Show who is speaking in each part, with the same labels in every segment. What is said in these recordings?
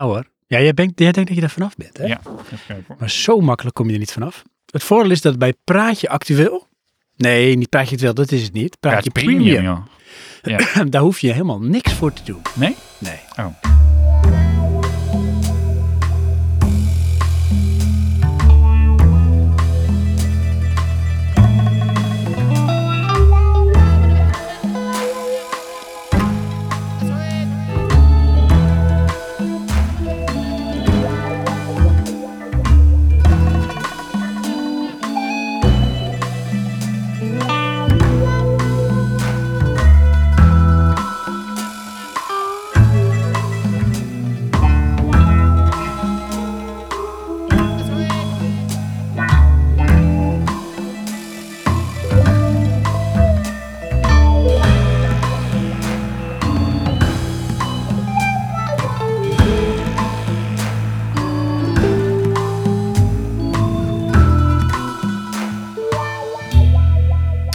Speaker 1: Ja Oh, hoor. Ja, jij, denkt- jij denkt dat je daar vanaf bent, hè?
Speaker 2: Ja, even kijken hoor.
Speaker 1: Maar zo makkelijk kom je er niet vanaf. Het voordeel is dat bij Praatje Actueel... Nee, niet Praatje Actueel, dat is het niet.
Speaker 2: Ja, het
Speaker 1: Praatje
Speaker 2: is
Speaker 1: Premium.
Speaker 2: premium, joh. Ja.
Speaker 1: Daar hoef je helemaal niks voor te doen.
Speaker 2: Nee?
Speaker 1: Nee.
Speaker 2: Oh.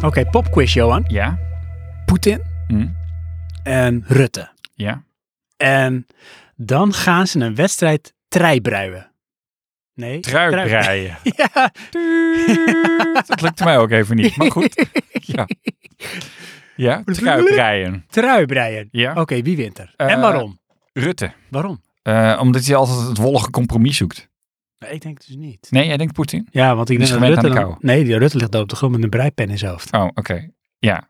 Speaker 1: Oké, popquiz, Johan.
Speaker 2: Ja.
Speaker 1: Poetin
Speaker 2: Hm.
Speaker 1: en Rutte.
Speaker 2: Ja.
Speaker 1: En dan gaan ze een wedstrijd treibruien. Nee. trui-
Speaker 2: Truitbreien.
Speaker 1: Ja,
Speaker 2: Dat lukt mij ook even niet, maar goed. Ja. Ja, truitbreien.
Speaker 1: truibreien.
Speaker 2: Ja.
Speaker 1: Oké, wie wint er?
Speaker 2: Eh,
Speaker 1: en waarom?
Speaker 2: Rutte.
Speaker 1: Waarom?
Speaker 2: Eh, omdat hij altijd het wollige compromis zoekt.
Speaker 1: Nou, ik denk het dus niet.
Speaker 2: Nee, jij denkt Poetin?
Speaker 1: Ja, want ik
Speaker 2: Die
Speaker 1: denk
Speaker 2: is
Speaker 1: dat
Speaker 2: gewend
Speaker 1: Rutte
Speaker 2: aan de
Speaker 1: dan- Nee, die Rutte ligt daar op de grond met een breipen in zijn hoofd.
Speaker 2: Oh, oké. Ja.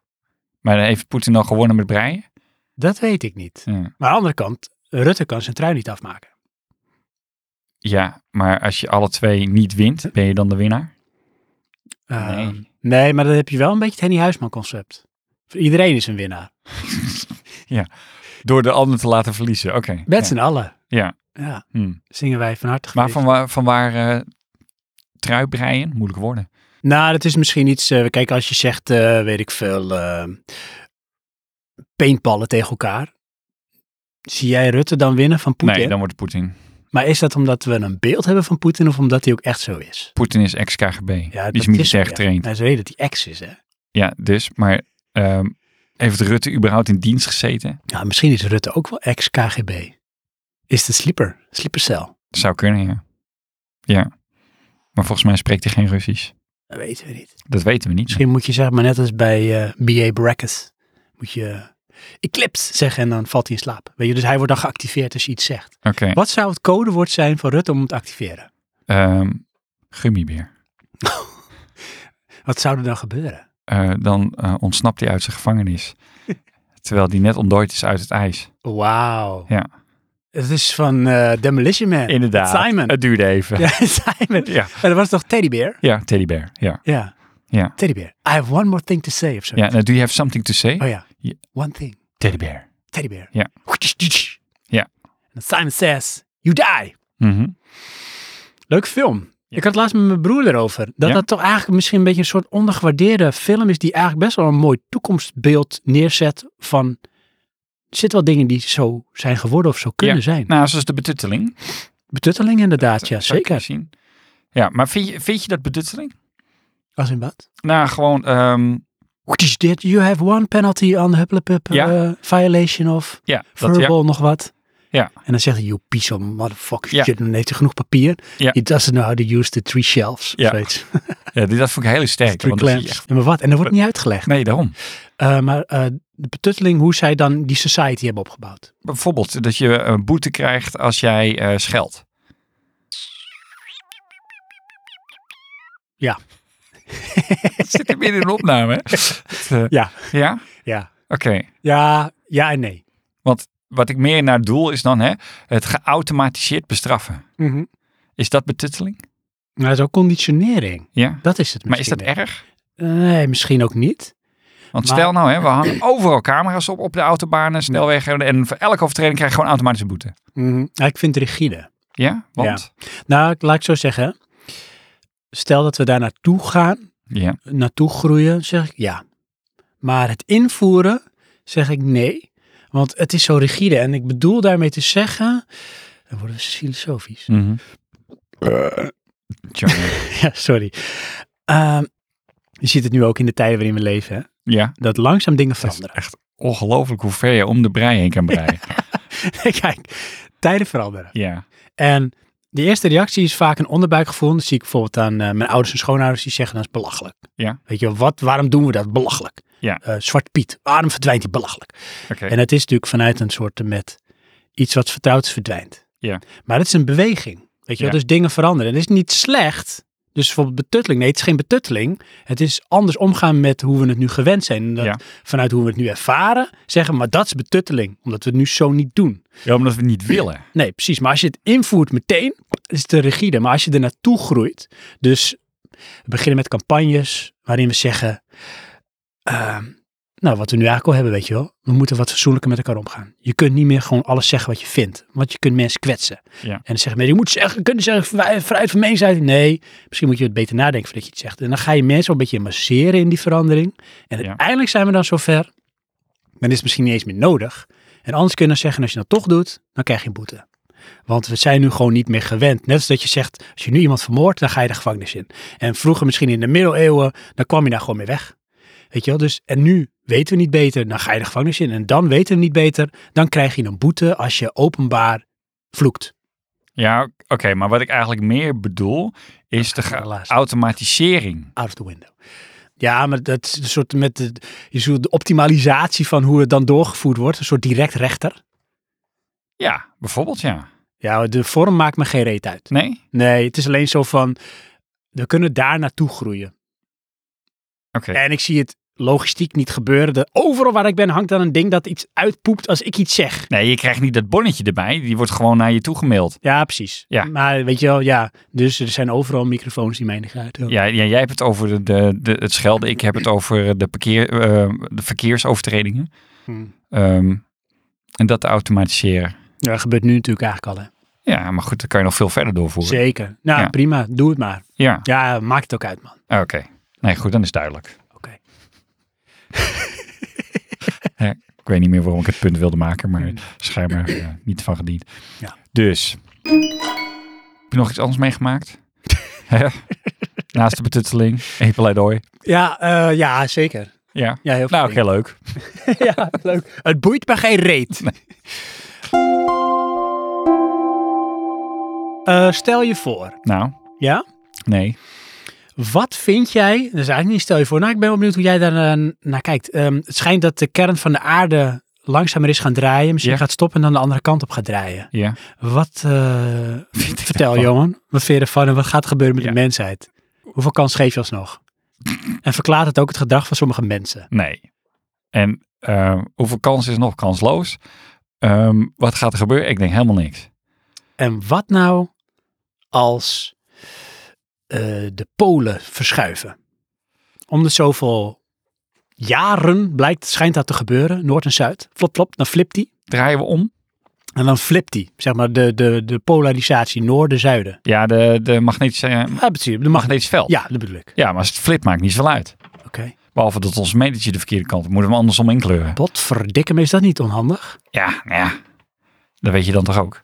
Speaker 2: Maar dan heeft Poetin dan gewonnen met breien?
Speaker 1: Dat weet ik niet.
Speaker 2: Ja.
Speaker 1: Maar aan de andere kant, Rutte kan zijn trui niet afmaken.
Speaker 2: Ja, maar als je alle twee niet wint, ben je dan de winnaar?
Speaker 1: Ehm,
Speaker 2: Nee.
Speaker 1: nee, maar dan heb je wel een beetje het Henny Huisman concept. Voor iedereen is een winnaar.
Speaker 2: Door de ander te laten verliezen, oké.
Speaker 1: Met
Speaker 2: Ja.
Speaker 1: z'n allen.
Speaker 2: Ja.
Speaker 1: Ja,
Speaker 2: Hmm.
Speaker 1: zingen wij van harte.
Speaker 2: Maar
Speaker 1: gefeliciteerd.
Speaker 2: van waar, van waar eh, trui breien? Moeilijk worden.
Speaker 1: Nou, dat is misschien iets. eh, kijk, als je zegt, eh, weet ik veel, eh paintballen tegen elkaar. Zie jij Rutte dan winnen van Poetin?
Speaker 2: Nee, dan wordt het Poetin.
Speaker 1: Maar is dat omdat we een beeld hebben van Poetin of omdat hij ook echt zo is?
Speaker 2: Poetin is ex-KGB.
Speaker 1: Ja,
Speaker 2: die is
Speaker 1: dat
Speaker 2: militair
Speaker 1: ja.
Speaker 2: getraind.
Speaker 1: Nou, ze weten dat hij ex is, hè?
Speaker 2: Ja, dus, maar ehm, heeft Rutte überhaupt in dienst gezeten?
Speaker 1: Ja, Nou, misschien is Rutte ook wel ex-KGB. Is de sleeper, sliepercel?
Speaker 2: Zou kunnen, ja. Ja. Maar volgens mij spreekt hij geen Russisch.
Speaker 1: Dat weten we niet.
Speaker 2: Dat weten we niet.
Speaker 1: Misschien moet je zeg maar net als bij eh B.A. Brackets, moet je eh, Eclipse zeggen en dan valt hij in slaap. Weet je, dus hij wordt dan geactiveerd als je iets zegt.
Speaker 2: Oké.
Speaker 1: Wat zou het codewoord zijn voor Rutte om hem te activeren?
Speaker 2: ehm, gummibeer.
Speaker 1: Wat zou er dan gebeuren?
Speaker 2: Eh, dan eh, ontsnapt hij uit zijn gevangenis. Terwijl hij net ontdooid is uit het ijs.
Speaker 1: Wauw.
Speaker 2: Ja.
Speaker 1: Het is van eh, Demolition Man.
Speaker 2: Inderdaad.
Speaker 1: Simon.
Speaker 2: Het duurde even. Ja,
Speaker 1: Ja, Simon.
Speaker 2: Ja.
Speaker 1: Maar dat was toch Teddybeer?
Speaker 2: teddybear. Ja.
Speaker 1: Ja.
Speaker 2: Ja.
Speaker 1: Teddybeer. I have one more thing to say of zo.
Speaker 2: ja. Nou, do you have something to say?
Speaker 1: Oh ja.
Speaker 2: Ja.
Speaker 1: One thing.
Speaker 2: Teddybear.
Speaker 1: Teddybeer.
Speaker 2: Ja. Ja.
Speaker 1: En Simon says, you die.
Speaker 2: Mhm.
Speaker 1: Leuk film. Ik had het laatst met mijn broer erover. Dat
Speaker 2: Ja?
Speaker 1: dat toch eigenlijk misschien een beetje een soort ondergewaardeerde film is. Die eigenlijk best wel een mooi toekomstbeeld neerzet van... Er zitten wel dingen die zo zijn geworden of zo kunnen
Speaker 2: Ja.
Speaker 1: zijn.
Speaker 2: Nou, zoals de betutteling.
Speaker 1: Betutteling inderdaad, ja
Speaker 2: Zou ik
Speaker 1: zeker.
Speaker 2: Zien. Ja, maar vind je, vind je dat betutteling?
Speaker 1: Als in wat?
Speaker 2: Nou, gewoon ehm,
Speaker 1: What is dit? You have one penalty on hupplepup
Speaker 2: Ja.
Speaker 1: eh, violation of
Speaker 2: ja, dat, ja,
Speaker 1: verbal nog wat.
Speaker 2: Ja.
Speaker 1: En dan zegt hij, you piece of motherfucker.
Speaker 2: Ja.
Speaker 1: shit, Dan heeft hij genoeg papier.
Speaker 2: Ja.
Speaker 1: He doesn't know how to use the three shelves.
Speaker 2: Ja.
Speaker 1: Ja. Zoiets.
Speaker 2: ja, dit- dat vond ik heel sterk.
Speaker 1: Three
Speaker 2: Want dat zie je
Speaker 1: clamps.
Speaker 2: echt,
Speaker 1: Ja, maar wat? En dat wordt niet uitgelegd.
Speaker 2: nee, daarom.
Speaker 1: Eh, maar eh, de betutteling hoe zij dan die society hebben opgebouwd.
Speaker 2: Bijvoorbeeld dat je een boete krijgt als jij eh, scheldt.
Speaker 1: Ja.
Speaker 2: Het zit er midden in een opname, hè? Het, eh,
Speaker 1: Ja.
Speaker 2: Ja?
Speaker 1: Ja.
Speaker 2: Oké.
Speaker 1: Ja, ja en nee.
Speaker 2: Wat ik meer naar doel is dan, hè, het geautomatiseerd bestraffen. Is dat betutteling?
Speaker 1: Nou, zo conditionering.
Speaker 2: Ja.
Speaker 1: Dat is het
Speaker 2: Maar is
Speaker 1: misschien.
Speaker 2: dat erg?
Speaker 1: meer. Nee, misschien ook niet.
Speaker 2: Want
Speaker 1: Maar-
Speaker 2: stel nou, hè, we hangen overal camera's op, op de autobanen, snelwegen. En voor elke overtreding krijg je gewoon automatische boete.
Speaker 1: Nou, ik vind het rigide.
Speaker 2: Ja? Want?
Speaker 1: Nou, ik- laat ik het zo zeggen. Stel dat we daar naartoe gaan,
Speaker 2: Ja.
Speaker 1: naartoe groeien, zeg ik ja. Maar het invoeren, zeg ik nee. Want het is zo rigide. En ik bedoel daarmee te zeggen, dan worden we filosofisch.
Speaker 2: Mhm. Eh. Tjonge.
Speaker 1: Ja, sorry. Ehm, je ziet het nu ook in de tijden waarin we leven, hè?
Speaker 2: ja,
Speaker 1: dat langzaam dingen
Speaker 2: dat is
Speaker 1: veranderen.
Speaker 2: echt ongelooflijk hoe ver je om de brei heen kan breien.
Speaker 1: Kijk, tijden veranderen.
Speaker 2: Ja.
Speaker 1: En de eerste reactie is vaak een onderbuikgevoel. Dat zie ik bijvoorbeeld aan eh, mijn ouders en schoonouders. Die zeggen dat is belachelijk.
Speaker 2: Ja.
Speaker 1: Weet je, wel, wat, waarom doen we dat? Belachelijk.
Speaker 2: Ja.
Speaker 1: Eh, Zwart Piet, waarom verdwijnt die belachelijk?
Speaker 2: Oké.
Speaker 1: En het is natuurlijk vanuit een soort met iets wat vertrouwd is verdwijnt.
Speaker 2: Ja.
Speaker 1: Maar het is een beweging. Weet je wel,
Speaker 2: Ja.
Speaker 1: dus dingen veranderen. En het is niet slecht. Dus bijvoorbeeld betutteling. Nee, het is geen betutteling. Het is anders omgaan met hoe we het nu gewend zijn. En dat
Speaker 2: Ja.
Speaker 1: Vanuit hoe we het nu ervaren, zeggen we, maar dat is betutteling. Omdat we het nu zo niet doen.
Speaker 2: Ja, omdat we het niet willen.
Speaker 1: Nee, precies. Maar als je het invoert meteen, is het te rigide. Maar als je er naartoe groeit, dus we beginnen met campagnes waarin we zeggen, ehm, nou wat we nu eigenlijk al hebben, weet je wel, we moeten wat fatsoenlijker met elkaar omgaan. Je kunt niet meer gewoon alles zeggen wat je vindt, want je kunt mensen kwetsen.
Speaker 2: Ja.
Speaker 1: En dan zeggen mensen, je moet zeggen, kunnen zeggen, vrij- vrijheid van meningsuiting. Nee, misschien moet je het beter nadenken voordat je het zegt. En dan ga je mensen wel een beetje masseren in die verandering. En
Speaker 2: Ja.
Speaker 1: uiteindelijk zijn we dan zover, dan is het misschien niet eens meer nodig. En anders kunnen we zeggen, als je dat toch doet, dan krijg je een boete. Want we zijn nu gewoon niet meer gewend. Net als dat je zegt, als je nu iemand vermoordt, dan ga je de gevangenis in. En vroeger misschien in de middeleeuwen, dan kwam je daar gewoon mee weg. Weet je wel? Dus, en nu weten we niet beter, dan ga je de gevangenis in. En dan weten we niet beter, dan krijg je een boete als je openbaar vloekt.
Speaker 2: Ja, oké. maar wat ik eigenlijk meer bedoel is de ge-
Speaker 1: Helaas.
Speaker 2: automatisering.
Speaker 1: Out of the window. Ja, maar dat is een soort met de, je zult de optimalisatie van hoe het dan doorgevoerd wordt. Een soort direct rechter.
Speaker 2: Ja, bijvoorbeeld ja.
Speaker 1: Ja, de vorm maakt me geen reet uit.
Speaker 2: Nee?
Speaker 1: Nee, het is alleen zo van, we kunnen daar naartoe groeien.
Speaker 2: Oké.
Speaker 1: En ik zie het logistiek niet gebeuren. De, overal waar ik ben hangt dan een ding dat iets uitpoept als ik iets zeg.
Speaker 2: Nee, je krijgt niet dat bonnetje erbij. Die wordt gewoon naar je toegemaild.
Speaker 1: Ja, precies.
Speaker 2: Ja.
Speaker 1: Maar weet je wel, ja. Dus er zijn overal microfoons die mij niet uit.
Speaker 2: Ja, ja, jij hebt het over de, de, de- het schelden. Ik heb het over de, parkeer, eh, de verkeersovertredingen.
Speaker 1: Hmm.
Speaker 2: Ehm, en dat te automatiseren.
Speaker 1: Ja, dat gebeurt nu natuurlijk eigenlijk al. Hè.
Speaker 2: Ja, maar goed, dan kan je nog veel verder doorvoeren.
Speaker 1: Zeker. Nou,
Speaker 2: Ja.
Speaker 1: prima. Doe het maar.
Speaker 2: Ja, ah,
Speaker 1: Ja, maakt het ook uit, man.
Speaker 2: oké. Nee, goed, dan is het duidelijk.
Speaker 1: Oké.
Speaker 2: Ik weet niet meer waarom ik het punt wilde maken, maar schijnbaar eh, niet van gediend.
Speaker 1: Hmm. Ja.
Speaker 2: Dus, heb je nog iets anders meegemaakt? Hè? Naast de betutteling, Epeleidooi.
Speaker 1: Ja, eh, ja, zeker.
Speaker 2: Ja,
Speaker 1: Ja, heel veel
Speaker 2: nou, heel leuk.
Speaker 1: dingen. ja, leuk. Het boeit me geen reet. Eh, stel je voor,
Speaker 2: Nou,
Speaker 1: ja?
Speaker 2: nee.
Speaker 1: Wat vind jij, dat is eigenlijk niet stel je voor, nou ik ben wel benieuwd hoe jij daar eh, naar kijkt. Ehm, het schijnt dat de kern van de aarde langzamer is gaan draaien, misschien
Speaker 2: Ja.
Speaker 1: gaat stoppen en dan de andere kant op gaat draaien.
Speaker 2: Ja.
Speaker 1: Wat, eh,
Speaker 2: Vind ik
Speaker 1: vertel
Speaker 2: daarvan?
Speaker 1: Johan, wat vind je ervan en wat gaat er gebeuren met
Speaker 2: Ja.
Speaker 1: de mensheid? Hoeveel kans geef je alsnog? En verklaart het ook het gedrag van sommige mensen?
Speaker 2: Nee. En eh, hoeveel kans is nog kansloos? Ehm, wat gaat er gebeuren? Ik denk helemaal niks.
Speaker 1: En wat nou als eh, de polen verschuiven? Om de zoveel jaren blijkt, schijnt dat te gebeuren, Noord en Zuid. Flop, flop, dan flipt die.
Speaker 2: Draaien we om?
Speaker 1: En dan flipt die, zeg maar, de, de, de polarisatie noorden-zuiden.
Speaker 2: Ja, de, de magnetische, eh,
Speaker 1: Ja, precies. De mag...
Speaker 2: magnetisch veld.
Speaker 1: Ja, dat bedoel ik.
Speaker 2: Ja, maar als het flit maakt niet veel uit.
Speaker 1: Oké.
Speaker 2: Behalve dat ons metertje de verkeerde kant op. Moeten we hem andersom inkleuren.
Speaker 1: Potverdikke me, is dat niet onhandig?
Speaker 2: Ja, nou ja. Dat weet je dan toch ook.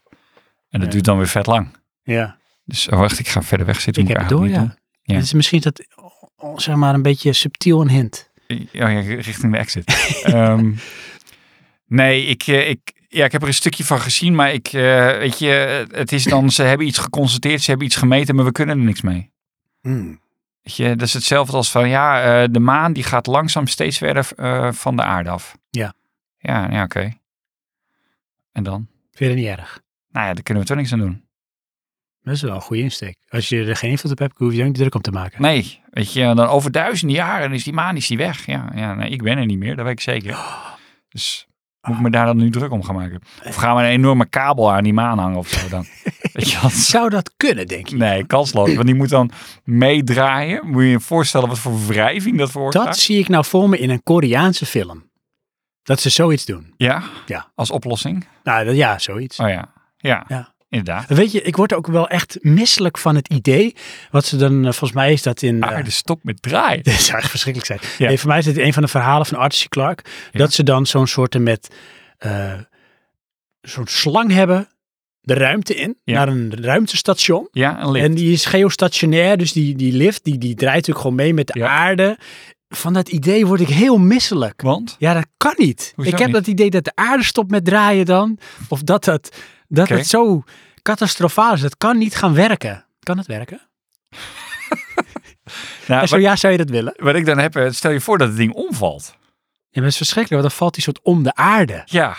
Speaker 2: En dat
Speaker 1: Ja.
Speaker 2: duurt dan weer vet lang.
Speaker 1: Ja,
Speaker 2: Dus oh, wacht, ik ga verder weg zitten.
Speaker 1: ik
Speaker 2: moet
Speaker 1: heb het door,
Speaker 2: eigenlijk
Speaker 1: ja.
Speaker 2: Ja.
Speaker 1: Het is misschien is dat, oh, zeg maar, een beetje subtiel een hint.
Speaker 2: niet doen. Oh, ja, richting de exit. Ehm, nee, ik, eh, ik, ja, ik heb er een stukje van gezien. Maar ik, eh, weet je, eh, het is dan, ze hebben iets geconstateerd, ze hebben iets gemeten, maar we kunnen er niks mee. Hmm. Weet je, dat is hetzelfde als van, ja, eh, de maan die gaat langzaam steeds verder eh, van de aarde af.
Speaker 1: Ja.
Speaker 2: Ja, ja oké. En dan?
Speaker 1: Vind je dat niet erg?
Speaker 2: Nou ja, daar kunnen we toch niks aan doen.
Speaker 1: Dat is wel een goede insteek. Als je er geen invloed op hebt, hoef je er ook niet druk om te maken.
Speaker 2: Nee, weet je, dan over duizenden jaren is die maan is die weg. Ja, ja nee, ik ben er niet meer, dat weet ik zeker. Dus moet ik me daar dan nu druk om gaan maken? Of gaan we een enorme kabel aan die maan hangen of zo dan? weet je wat?
Speaker 1: Zou dat kunnen, denk je?
Speaker 2: Nee, kansloos. Want die moet dan meedraaien. Moet je je voorstellen wat voor wrijving dat veroorzaakt?
Speaker 1: Dat zie ik nou voor me in een Koreaanse film. Dat ze zoiets doen.
Speaker 2: Ja?
Speaker 1: Ja.
Speaker 2: Als oplossing?
Speaker 1: Nou, dat- ja, zoiets.
Speaker 2: Oh ja. Ja,
Speaker 1: Ja.
Speaker 2: inderdaad.
Speaker 1: Weet je, ik word ook wel echt misselijk van het idee. Wat ze dan, eh, volgens mij is dat in... eh,
Speaker 2: Aarde stopt met draaien.
Speaker 1: Dit zou echt verschrikkelijk zijn.
Speaker 2: Ah, dus- Ja.
Speaker 1: Nee, voor mij is dit een van de verhalen van Archie Clark.
Speaker 2: Ja.
Speaker 1: Dat ze dan zo'n soort met eh, zo'n slang hebben, de ruimte in,
Speaker 2: Ja.
Speaker 1: naar een ruimtestation.
Speaker 2: Ja, een lift.
Speaker 1: En die is geostationair, dus die, die lift die, die draait natuurlijk gewoon mee met de
Speaker 2: Ja.
Speaker 1: aarde. Van dat idee word ik heel misselijk.
Speaker 2: Want?
Speaker 1: Ja, dat kan niet.
Speaker 2: Hoezo
Speaker 1: ik heb
Speaker 2: niet?
Speaker 1: dat idee dat de aarde stopt met draaien dan. Of dat dat, Dat
Speaker 2: Oké.
Speaker 1: het zo catastrofaal is. Dat kan niet gaan werken. Kan het werken?
Speaker 2: Nou,
Speaker 1: en zo
Speaker 2: wat,
Speaker 1: ja, zou je dat willen?
Speaker 2: wat ik dan heb, eh, stel je voor dat het ding omvalt.
Speaker 1: Ja, maar dat is verschrikkelijk, want dan valt die soort om de aarde.
Speaker 2: Ja,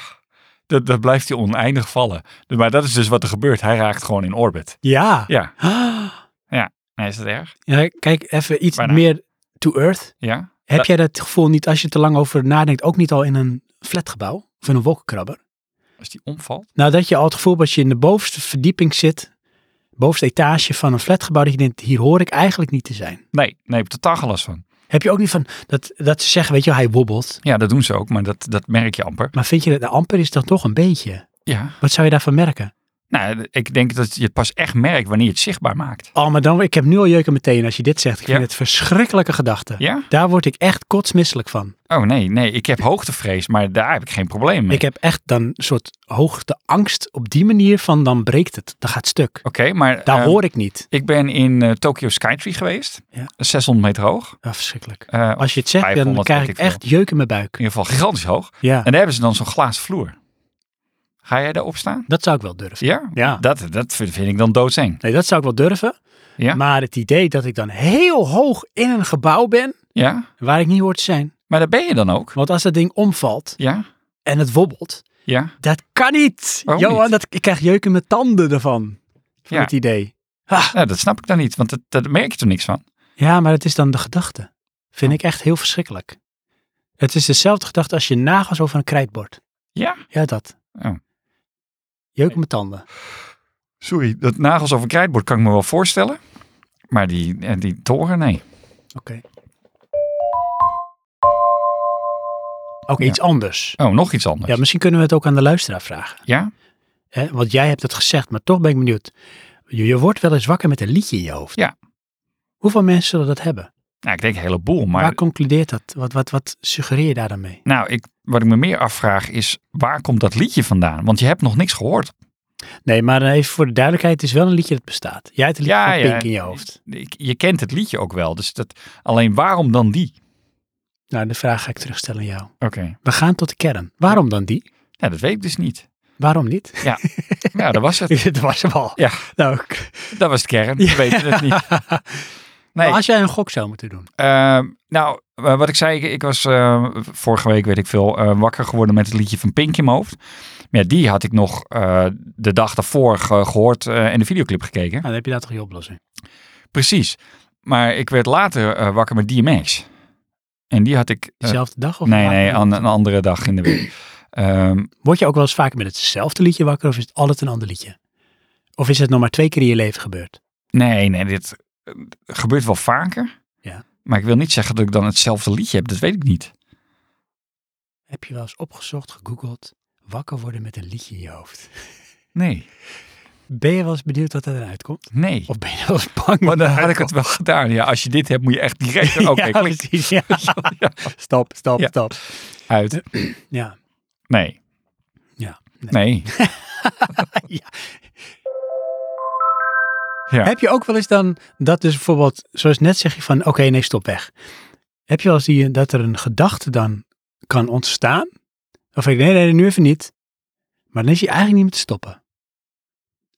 Speaker 2: dat, dat blijft hij oneindig vallen. Dus- Maar dat is dus wat er gebeurt. Hij raakt gewoon in orbit.
Speaker 1: Ja.
Speaker 2: Ja,
Speaker 1: Ah.
Speaker 2: nee, is dat erg?
Speaker 1: Ja, kijk, even iets
Speaker 2: Bijna.
Speaker 1: meer to earth.
Speaker 2: Ja.
Speaker 1: Heb
Speaker 2: Ja.
Speaker 1: jij dat gevoel niet, als je te lang over nadenkt, ook niet al in een flatgebouw of in een wolkenkrabber?
Speaker 2: Als die omvalt?
Speaker 1: Nou, dat je al het gevoel hebt als je in de bovenste verdieping zit, bovenste etage van een flatgebouw, dat je denkt, hier hoor ik eigenlijk niet te zijn.
Speaker 2: Nee, nee, ik heb totaal geen last van.
Speaker 1: Heb je ook niet van, dat, dat ze zeggen, weet je wel, hij wobbelt.
Speaker 2: Ja, dat doen ze ook, maar dat, dat merk je amper.
Speaker 1: Maar vind je dat, nou, amper is dan toch een beetje.
Speaker 2: Ja.
Speaker 1: Wat zou je daarvan merken?
Speaker 2: Nou, ik denk dat je het pas echt merkt wanneer je het zichtbaar maakt.
Speaker 1: Oh, maar dan, ik heb nu al jeuken meteen als je dit zegt. Ik vind
Speaker 2: Ja.
Speaker 1: het verschrikkelijke gedachten.
Speaker 2: Ja?
Speaker 1: Daar word ik echt kotsmisselijk van.
Speaker 2: Oh nee, nee, ik heb hoogtevrees, maar daar heb ik geen probleem mee.
Speaker 1: Ik heb echt dan een soort hoogteangst op die manier van dan breekt het, dan gaat het stuk.
Speaker 2: Oké, maar
Speaker 1: Daar
Speaker 2: eh,
Speaker 1: hoor ik niet.
Speaker 2: ik ben in eh Tokyo Skytree geweest,
Speaker 1: Ja.
Speaker 2: 600 meter hoog.
Speaker 1: Ah, verschrikkelijk.
Speaker 2: Eh, in
Speaker 1: Als je het zegt, dan
Speaker 2: 500
Speaker 1: krijg
Speaker 2: weet
Speaker 1: ik
Speaker 2: ik
Speaker 1: echt jeuk in mijn buik.
Speaker 2: ieder geval gigantisch hoog.
Speaker 1: Ja,
Speaker 2: En daar hebben ze dan zo'n glazen vloer. Ga jij daarop staan?
Speaker 1: dat zou ik wel durven.
Speaker 2: Ja?
Speaker 1: Ja,
Speaker 2: Dat, dat vind vind ik dan doodseng.
Speaker 1: nee, dat zou ik wel durven.
Speaker 2: Ja.
Speaker 1: Maar het idee dat ik dan heel hoog in een gebouw ben,
Speaker 2: Ja?
Speaker 1: waar ik niet hoor te zijn.
Speaker 2: Maar daar ben je dan ook.
Speaker 1: Want als dat ding omvalt
Speaker 2: Ja?
Speaker 1: en het wobbelt,
Speaker 2: Ja?
Speaker 1: dat kan niet.
Speaker 2: Waarom
Speaker 1: Johan,
Speaker 2: Oh, niet?
Speaker 1: Dat, ik krijg jeuk in mijn tanden ervan. Van
Speaker 2: Ja.
Speaker 1: het idee. Ah,
Speaker 2: Nou, dat snap ik dan niet, want dat, dat merk je toch niks van.
Speaker 1: ja, maar het is dan de gedachte. Vind ik echt heel verschrikkelijk. Het is dezelfde gedachte als je nagels over een krijtbord.
Speaker 2: Ja?
Speaker 1: Ja, dat.
Speaker 2: Oh.
Speaker 1: Jeuk in mijn tanden.
Speaker 2: Sorry, dat nagels over krijtbord kan ik me wel voorstellen. Maar die, eh, die toren, nee.
Speaker 1: Oké. Ook
Speaker 2: Ja.
Speaker 1: iets anders.
Speaker 2: Oh, nog iets anders.
Speaker 1: Ja, misschien kunnen we het ook aan de luisteraar vragen.
Speaker 2: Ja?
Speaker 1: Hè? Want jij hebt het gezegd, maar toch ben ik benieuwd. Je, je wordt wel eens wakker met een liedje in je hoofd.
Speaker 2: Ja.
Speaker 1: Hoeveel mensen zullen dat hebben?
Speaker 2: Nou, ik denk een heleboel. Maar
Speaker 1: Waar concludeert dat? Wat, wat, wat suggereer je daar dan mee?
Speaker 2: nou, ik, wat ik me meer afvraag is, waar komt dat liedje vandaan? Want je hebt nog niks gehoord.
Speaker 1: Nee, maar even voor de duidelijkheid, het is wel een liedje dat bestaat. Jij hebt een liedje
Speaker 2: Ja,
Speaker 1: van
Speaker 2: ja.
Speaker 1: Pink in je hoofd.
Speaker 2: Ik, je kent het liedje ook wel. Dus dat, alleen waarom dan die?
Speaker 1: Nou, de vraag ga ik terugstellen aan jou.
Speaker 2: Oké.
Speaker 1: We gaan tot de kern. Waarom dan die?
Speaker 2: Nou, dat weet ik dus niet.
Speaker 1: Waarom niet?
Speaker 2: Nou, dat was het.
Speaker 1: Dit was hem al.
Speaker 2: Ja.
Speaker 1: Nou, ik-
Speaker 2: Dat was het kern. We weten het niet. Nee.
Speaker 1: Maar als jij een gok zou moeten doen.
Speaker 2: ehm, nou, eh, wat ik zei, ik, ik was eh, vorige week, weet ik veel, eh, wakker geworden met het liedje van Pink in mijn hoofd. Maar ja, die had ik nog eh, de dag daarvoor ge- gehoord eh, en de videoclip gekeken.
Speaker 1: Nou, dan heb je daar toch je oplossing.
Speaker 2: Precies. Maar ik werd later eh, wakker met DMX. En die had ik... eh,
Speaker 1: Dezelfde dag? Of
Speaker 2: Nee,
Speaker 1: later?
Speaker 2: nee, aan een andere dag in de week. Ehm,
Speaker 1: Word je ook wel eens vaker met hetzelfde liedje wakker of is het altijd een ander liedje? Of is het nog maar twee keer in je leven gebeurd?
Speaker 2: nee, nee, dit eh, gebeurt wel vaker.
Speaker 1: Ja.
Speaker 2: Maar ik wil niet zeggen dat ik dan hetzelfde liedje heb. Dat weet ik niet.
Speaker 1: Heb je wel eens opgezocht, gegoogeld, wakker worden met een liedje in je hoofd?
Speaker 2: Nee,
Speaker 1: Ben je wel eens benieuwd wat er uitkomt?
Speaker 2: nee.
Speaker 1: Of ben je wel eens bang?
Speaker 2: Maar
Speaker 1: wat
Speaker 2: dan
Speaker 1: eruit
Speaker 2: had ik het wel gedaan. Ja, als je dit hebt, moet je echt direct... Oké,
Speaker 1: ja,
Speaker 2: klik
Speaker 1: precies. Ja.
Speaker 2: Ja.
Speaker 1: Stop, stop,
Speaker 2: Ja.
Speaker 1: stop.
Speaker 2: uit.
Speaker 1: Ja.
Speaker 2: Nee.
Speaker 1: Ja,
Speaker 2: Nee. Ja.
Speaker 1: Heb je ook wel eens dan dat dus bijvoorbeeld, zoals net zeg je van oké, nee, stop weg. Heb je wel eens die, dat er een gedachte dan kan ontstaan? Of ik nee, nee, nu even niet. Maar dan is hij eigenlijk niet meer te stoppen.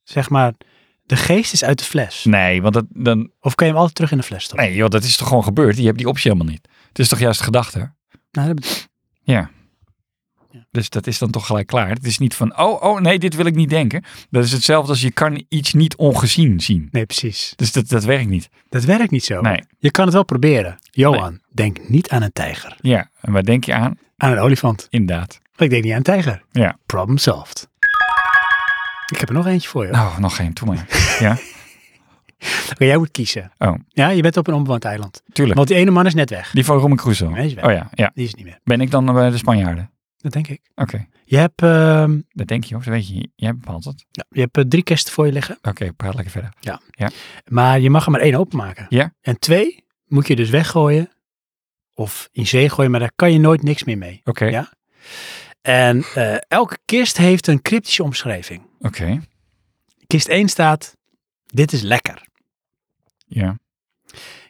Speaker 1: Zeg maar, de geest is uit de fles.
Speaker 2: Nee, want dat, dan...
Speaker 1: Of kan je hem altijd terug in de fles stoppen?
Speaker 2: Hm. Nee, joh, dat is toch gewoon gebeurd? Je hebt die optie helemaal niet. Het is toch juist gedachte?
Speaker 1: Nou, dat bet-
Speaker 2: Dus dat is dan toch gelijk klaar. Het is niet van, oh, oh, nee, dit wil ik niet denken. Dat is hetzelfde als je kan iets niet ongezien zien.
Speaker 1: nee, precies.
Speaker 2: Dus dat, dat werkt niet.
Speaker 1: Dat werkt niet zo.
Speaker 2: Nee.
Speaker 1: Je kan het wel proberen. Johan, denk niet aan een tijger.
Speaker 2: Ja, en waar denk je aan?
Speaker 1: Aan een olifant.
Speaker 2: Inderdaad.
Speaker 1: Maar ik denk niet aan een tijger.
Speaker 2: Ja.
Speaker 1: Problem solved. Ik heb er nog eentje voor je.
Speaker 2: Nou, nog geen, toe maar.
Speaker 1: Oké, jij moet kiezen.
Speaker 2: Oh.
Speaker 1: Ja, je bent op een onbewoond eiland.
Speaker 2: Tuurlijk.
Speaker 1: Want die ene man is net weg.
Speaker 2: Die van Romy Crusoe.
Speaker 1: Nee, is weg.
Speaker 2: Oh ja, ja.
Speaker 1: Die is het niet meer.
Speaker 2: Ben ik dan eh, bij de Spanjaarden?
Speaker 1: Dat denk ik.
Speaker 2: Oké,
Speaker 1: Je hebt, ehm,
Speaker 2: dat denk je hoor. Dat weet je. Jij bepaalt het.
Speaker 1: ja, je hebt eh, drie kersten voor je liggen,
Speaker 2: Oké, praat lekker verder.
Speaker 1: maar je mag er maar één openmaken.
Speaker 2: Ja.
Speaker 1: En twee moet je dus weggooien of in zee gooien, maar daar kan je nooit niks meer mee.
Speaker 2: Oké,
Speaker 1: Ja. En eh, elke kist heeft een cryptische omschrijving.
Speaker 2: oké.
Speaker 1: Kist 1 staat, dit is lekker.
Speaker 2: Ja,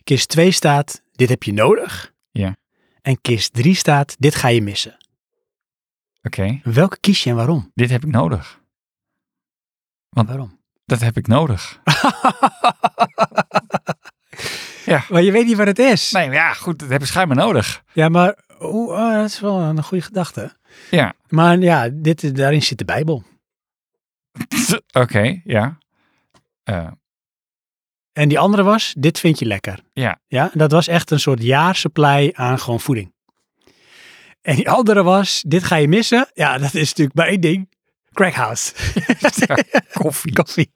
Speaker 1: Kist 2 staat, dit heb je nodig.
Speaker 2: Ja.
Speaker 1: En kist 3 staat, dit ga je missen.
Speaker 2: oké.
Speaker 1: Welke kies je en waarom?
Speaker 2: Dit heb ik nodig. Want-
Speaker 1: Waarom?
Speaker 2: Dat heb ik nodig. ja.
Speaker 1: Maar je weet niet wat het is.
Speaker 2: Nee, maar ja, goed, dat heb ik schijnbaar nodig.
Speaker 1: Ja, maar hoe, oh, dat is wel een goede gedachte.
Speaker 2: Ja.
Speaker 1: Maar ja, dit, daarin zit de Bijbel.
Speaker 2: Oké, ja. Eh,
Speaker 1: En die andere was, dit vind je lekker.
Speaker 2: Ja.
Speaker 1: Ja, dat was echt een soort jaarsupply aan gewoon voeding. En die andere was, dit ga je missen. Ja, dat is natuurlijk maar één ding. Crackhouse.
Speaker 2: koffie.
Speaker 1: Koffie.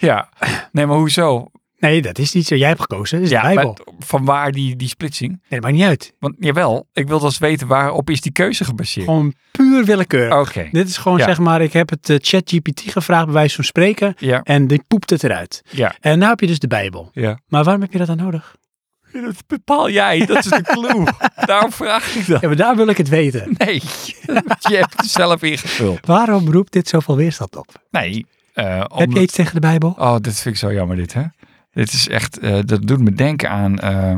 Speaker 2: Ja. Nee, maar hoezo?
Speaker 1: Nee, dat is niet zo. Jij hebt gekozen. Dat is
Speaker 2: Ja,
Speaker 1: de Bijbel.
Speaker 2: maar van waar die, die splitsing?
Speaker 1: Nee, dat maakt niet uit.
Speaker 2: Want jawel, ik wil dus weten waarop is die keuze gebaseerd.
Speaker 1: Gewoon puur willekeur.
Speaker 2: Oké,
Speaker 1: Dit is gewoon,
Speaker 2: Ja.
Speaker 1: zeg maar, ik heb het chat GPT gevraagd bij wijze van spreken.
Speaker 2: ja,
Speaker 1: En die poept het eruit.
Speaker 2: ja,
Speaker 1: En nou heb je dus de Bijbel.
Speaker 2: ja.
Speaker 1: Maar waarom heb je dat dan nodig?
Speaker 2: Dat bepaal jij, dat is de clue. Daarom vraag ik dat.
Speaker 1: Ja, maar daar wil ik het weten.
Speaker 2: Nee, je hebt het zelf ingevuld.
Speaker 1: Waarom roept dit zoveel weerstand op?
Speaker 2: Nee, eh
Speaker 1: Heb je
Speaker 2: omdat-
Speaker 1: iets tegen de Bijbel?
Speaker 2: Oh, dit vind ik zo jammer dit, hè? Dit is echt, eh, dat doet me denken aan... eh,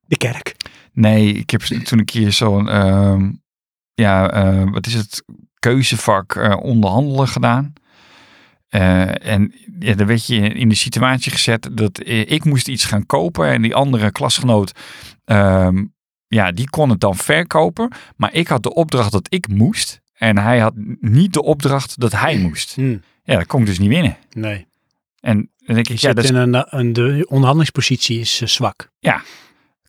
Speaker 1: De kerk.
Speaker 2: Nee, ik heb toen een keer zo'n, ehm, ja, eh, wat is het, keuzevak eh, onderhandelen gedaan. Eh, en ja, dan werd je in de situatie gezet dat eh, ik moest iets gaan kopen en die andere klasgenoot, ehm, ja, die kon het dan verkopen. Maar ik had de opdracht dat ik moest en hij had niet de opdracht dat hij moest. Ja, dat kon ik dus niet winnen.
Speaker 1: Nee.
Speaker 2: En dan denk
Speaker 1: Je
Speaker 2: ik, ja,
Speaker 1: zit
Speaker 2: dat is
Speaker 1: in een, een, de onderhandelingspositie is eh, zwak.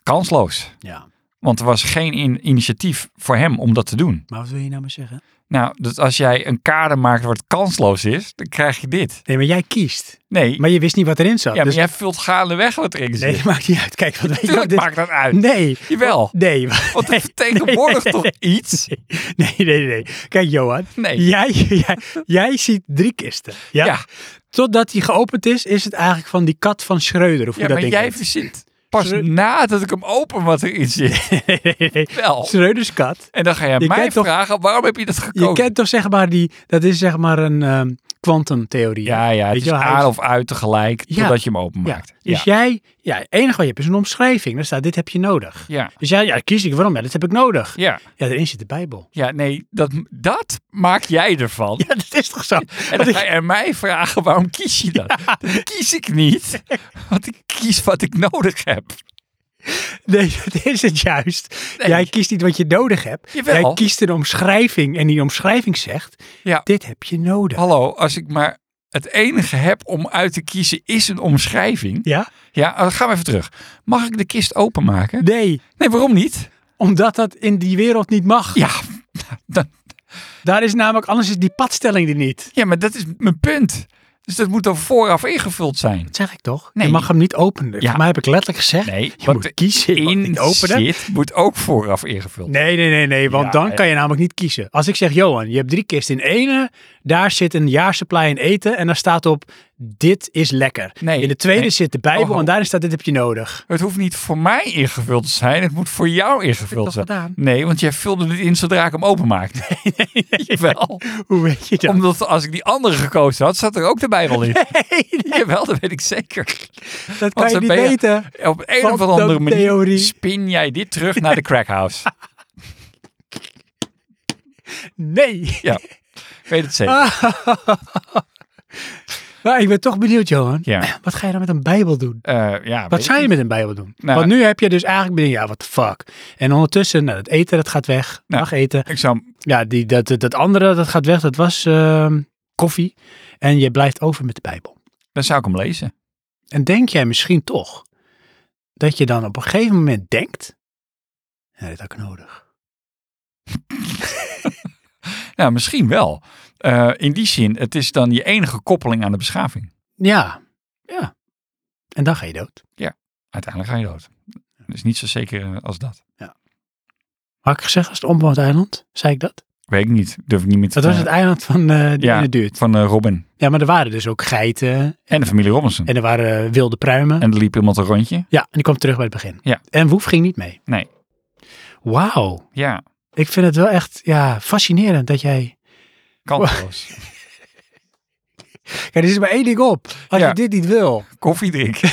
Speaker 2: kansloos.
Speaker 1: Ja.
Speaker 2: Want er was geen in- initiatief voor hem om dat te doen.
Speaker 1: Maar wat wil je nou maar zeggen?
Speaker 2: Nou, dat als jij een kader maakt waar het kansloos is, dan krijg je dit.
Speaker 1: Nee, maar jij kiest.
Speaker 2: Nee,
Speaker 1: Maar je wist niet wat erin zat.
Speaker 2: ja, maar
Speaker 1: dus-
Speaker 2: jij vult gaandeweg wat erin
Speaker 1: Nee,
Speaker 2: zit.
Speaker 1: dat maakt niet uit. Kijk, wat weet je wat
Speaker 2: Tuurlijk
Speaker 1: dit...
Speaker 2: maakt dat uit.
Speaker 1: Nee.
Speaker 2: Jawel,
Speaker 1: Nee.
Speaker 2: want het vertegenwoordigt
Speaker 1: nee,
Speaker 2: toch iets?
Speaker 1: Nee, nee, nee, nee. Kijk, Johan.
Speaker 2: Nee,
Speaker 1: Jij, jij, jij ziet drie kisten. Ja?
Speaker 2: Ja.
Speaker 1: Totdat die geopend is, is het eigenlijk van die kat van Schreuder. Of
Speaker 2: ja,
Speaker 1: hoe dat
Speaker 2: maar
Speaker 1: ding
Speaker 2: jij
Speaker 1: heet.
Speaker 2: verzint pas
Speaker 1: Zullen
Speaker 2: nadat ik hem open wat erin zit.
Speaker 1: Nee, nee, nee.
Speaker 2: Wel.
Speaker 1: Schreuders kat.
Speaker 2: En dan ga jij
Speaker 1: Je
Speaker 2: mij
Speaker 1: kent toch-
Speaker 2: vragen, waarom heb je dat
Speaker 1: Je
Speaker 2: gekozen?
Speaker 1: kent toch zeg maar die... Dat is zeg maar een ehm, kwantumtheorie.
Speaker 2: Ja, ja, het
Speaker 1: Weet je
Speaker 2: is
Speaker 1: wel, hij
Speaker 2: aan
Speaker 1: is-
Speaker 2: of uit tegelijk,
Speaker 1: Ja.
Speaker 2: totdat je hem openmaakt. Ja,
Speaker 1: Dus jij... Ja, het enige wat je hebt is een omschrijving. Daar staat, dit heb je nodig.
Speaker 2: ja,
Speaker 1: Dus jij, ja, kies ik. Waarom? Ja, dat heb ik nodig.
Speaker 2: ja.
Speaker 1: Ja, daarin zit de Bijbel.
Speaker 2: ja nee, dat, dat maak jij ervan.
Speaker 1: Ja, dat is toch zo?
Speaker 2: En
Speaker 1: Want
Speaker 2: dan
Speaker 1: ik-
Speaker 2: ga je aan mij vragen, waarom kies je dat? Dat kies ik niet, want ik kies wat ik nodig heb.
Speaker 1: nee, dat is het juist.
Speaker 2: Nee.
Speaker 1: Jij kiest niet wat je nodig hebt.
Speaker 2: Jawel.
Speaker 1: Jij kiest een omschrijving en die omschrijving zegt,
Speaker 2: Ja.
Speaker 1: dit heb je nodig.
Speaker 2: Hallo, als ik maar het enige heb om uit te kiezen is een omschrijving.
Speaker 1: Ja?
Speaker 2: Ja, eh, gaan we even terug. Mag ik de kist openmaken?
Speaker 1: Nee,
Speaker 2: Nee, waarom niet?
Speaker 1: omdat dat in die wereld niet mag.
Speaker 2: Ja, dan,
Speaker 1: Daar is namelijk, anders is die padstelling er niet.
Speaker 2: ja maar dat is mijn punt. Dus dat moet dan vooraf ingevuld zijn.
Speaker 1: Dat zeg ik toch?
Speaker 2: Nee.
Speaker 1: Je mag hem niet openen.
Speaker 2: Ja.
Speaker 1: Voor mij heb ik letterlijk gezegd,
Speaker 2: Nee,
Speaker 1: je
Speaker 2: wat
Speaker 1: moet kiezen, je mag
Speaker 2: in
Speaker 1: niet openen.
Speaker 2: zit, moet ook vooraf ingevuld
Speaker 1: Nee, nee, nee, nee, want
Speaker 2: Ja,
Speaker 1: dan
Speaker 2: ja.
Speaker 1: kan je namelijk niet kiezen. Als ik zeg, Johan, je hebt drie kisten in ene, daar zit een jaarsupply in eten en daar staat op, dit is lekker.
Speaker 2: Nee,
Speaker 1: in de tweede
Speaker 2: nee.
Speaker 1: zit de Bijbel
Speaker 2: Oh, oh.
Speaker 1: en daarin staat, dit heb je nodig.
Speaker 2: Het hoeft niet voor mij ingevuld te zijn. Het moet voor jou ingevuld
Speaker 1: Dat
Speaker 2: zijn.
Speaker 1: heb ik toch gedaan?
Speaker 2: Nee, want jij vulde het in zodra ik hem openmaakte. Jawel.
Speaker 1: Hoe weet je dat?
Speaker 2: Omdat als ik die andere gekozen had, zat er ook de Bijbel in. Jawel, dat weet ik zeker.
Speaker 1: dat
Speaker 2: Want
Speaker 1: kan je
Speaker 2: dan
Speaker 1: niet
Speaker 2: ben je-
Speaker 1: weten.
Speaker 2: Op een of andere manier
Speaker 1: Theorie.
Speaker 2: spin jij dit terug naar de crackhouse.
Speaker 1: Nee.
Speaker 2: Ja, ik weet het
Speaker 1: Ah.
Speaker 2: zeker.
Speaker 1: Maar ik ben toch benieuwd, Johan.
Speaker 2: Ja.
Speaker 1: Wat ga je dan met een Bijbel doen?
Speaker 2: Eh, ja, weet
Speaker 1: Wat
Speaker 2: ik
Speaker 1: zou je
Speaker 2: niet.
Speaker 1: met een Bijbel doen?
Speaker 2: Nou,
Speaker 1: Want nu heb je dus eigenlijk ben je, ja, what the fuck. En ondertussen, nou, dat eten, dat gaat weg.
Speaker 2: Nou.
Speaker 1: Mag eten.
Speaker 2: Ik zou...
Speaker 1: Ja, die, dat, dat- dat andere, dat gaat weg. Dat was ehm, koffie. En je blijft over met de Bijbel.
Speaker 2: Dan zou ik hem lezen.
Speaker 1: En denk jij misschien toch dat je dan op een gegeven moment denkt... Ja, dit had ik nodig.
Speaker 2: Nou, misschien wel. Eh, in die zin, het is dan je enige koppeling aan de beschaving.
Speaker 1: Ja, ja. En dan ga je dood.
Speaker 2: Uiteindelijk ga je dood. Dat is niet zo zeker eh, als dat.
Speaker 1: Had ik gezegd, als het onbewoond eiland, zei ik dat?
Speaker 2: Weet ik niet. Durf ik niet meer te
Speaker 1: Dat was het eiland van eh die
Speaker 2: ja.
Speaker 1: in de buurt.
Speaker 2: Van eh, Robin.
Speaker 1: Ja, maar er waren dus ook geiten
Speaker 2: En de familie Robinson.
Speaker 1: en er waren eh, wilde pruimen.
Speaker 2: En er liep iemand een rondje.
Speaker 1: Ja, en die kwam terug bij het begin.
Speaker 2: Ja.
Speaker 1: En Woef ging niet mee.
Speaker 2: Nee.
Speaker 1: Wauw.
Speaker 2: Ja,
Speaker 1: Ik vind het wel echt ja, fascinerend dat jij...
Speaker 2: kansloos.
Speaker 1: Kijk, er is maar één ding op. Als
Speaker 2: Ja.
Speaker 1: je dit niet wil.
Speaker 2: Koffie drinken.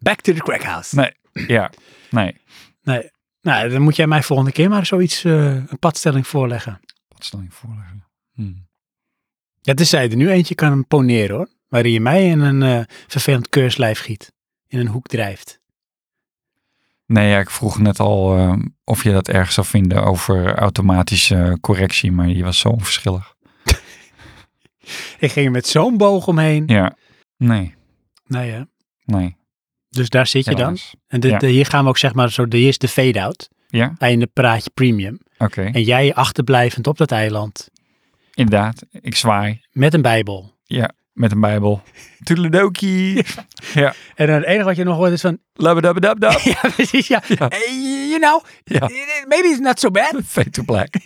Speaker 1: Back to the crackhouse.
Speaker 2: Nee. Ja, nee.
Speaker 1: Nee. Nou, dan moet jij mij volgende keer maar zoiets, eh, een padstelling voorleggen.
Speaker 2: Wat stel ik voor? Hm.
Speaker 1: Ja, tenzij er nu eentje kan poneren hoor. Waarin je mij in een eh, vervelend keurslijf giet. In een hoek drijft.
Speaker 2: Nee, ja, ik vroeg net al eh, of je dat erg zou vinden over automatische eh, correctie, maar je was zo onverschillig.
Speaker 1: Ik ging er met zo'n boog omheen.
Speaker 2: Ja, nee,
Speaker 1: Nou ja.
Speaker 2: nee.
Speaker 1: Dus daar zit je dan.
Speaker 2: helaas.
Speaker 1: En dit,
Speaker 2: Ja.
Speaker 1: eh, hier gaan we ook zeg maar, zo, hier is de fade-out.
Speaker 2: Ja,
Speaker 1: Einde praatje premium.
Speaker 2: oké.
Speaker 1: En jij achterblijvend op dat eiland.
Speaker 2: Inderdaad, ik zwaai
Speaker 1: Met een bijbel.
Speaker 2: met een bijbel. Toedeledokie.
Speaker 1: En dan het enige wat je nog hoort is van...
Speaker 2: Labbadabadabdab.
Speaker 1: Ja, precies, ja.
Speaker 2: Ja.
Speaker 1: Eh, You know,
Speaker 2: Ja.
Speaker 1: maybe it's not so bad. Ah.
Speaker 2: Fade to black.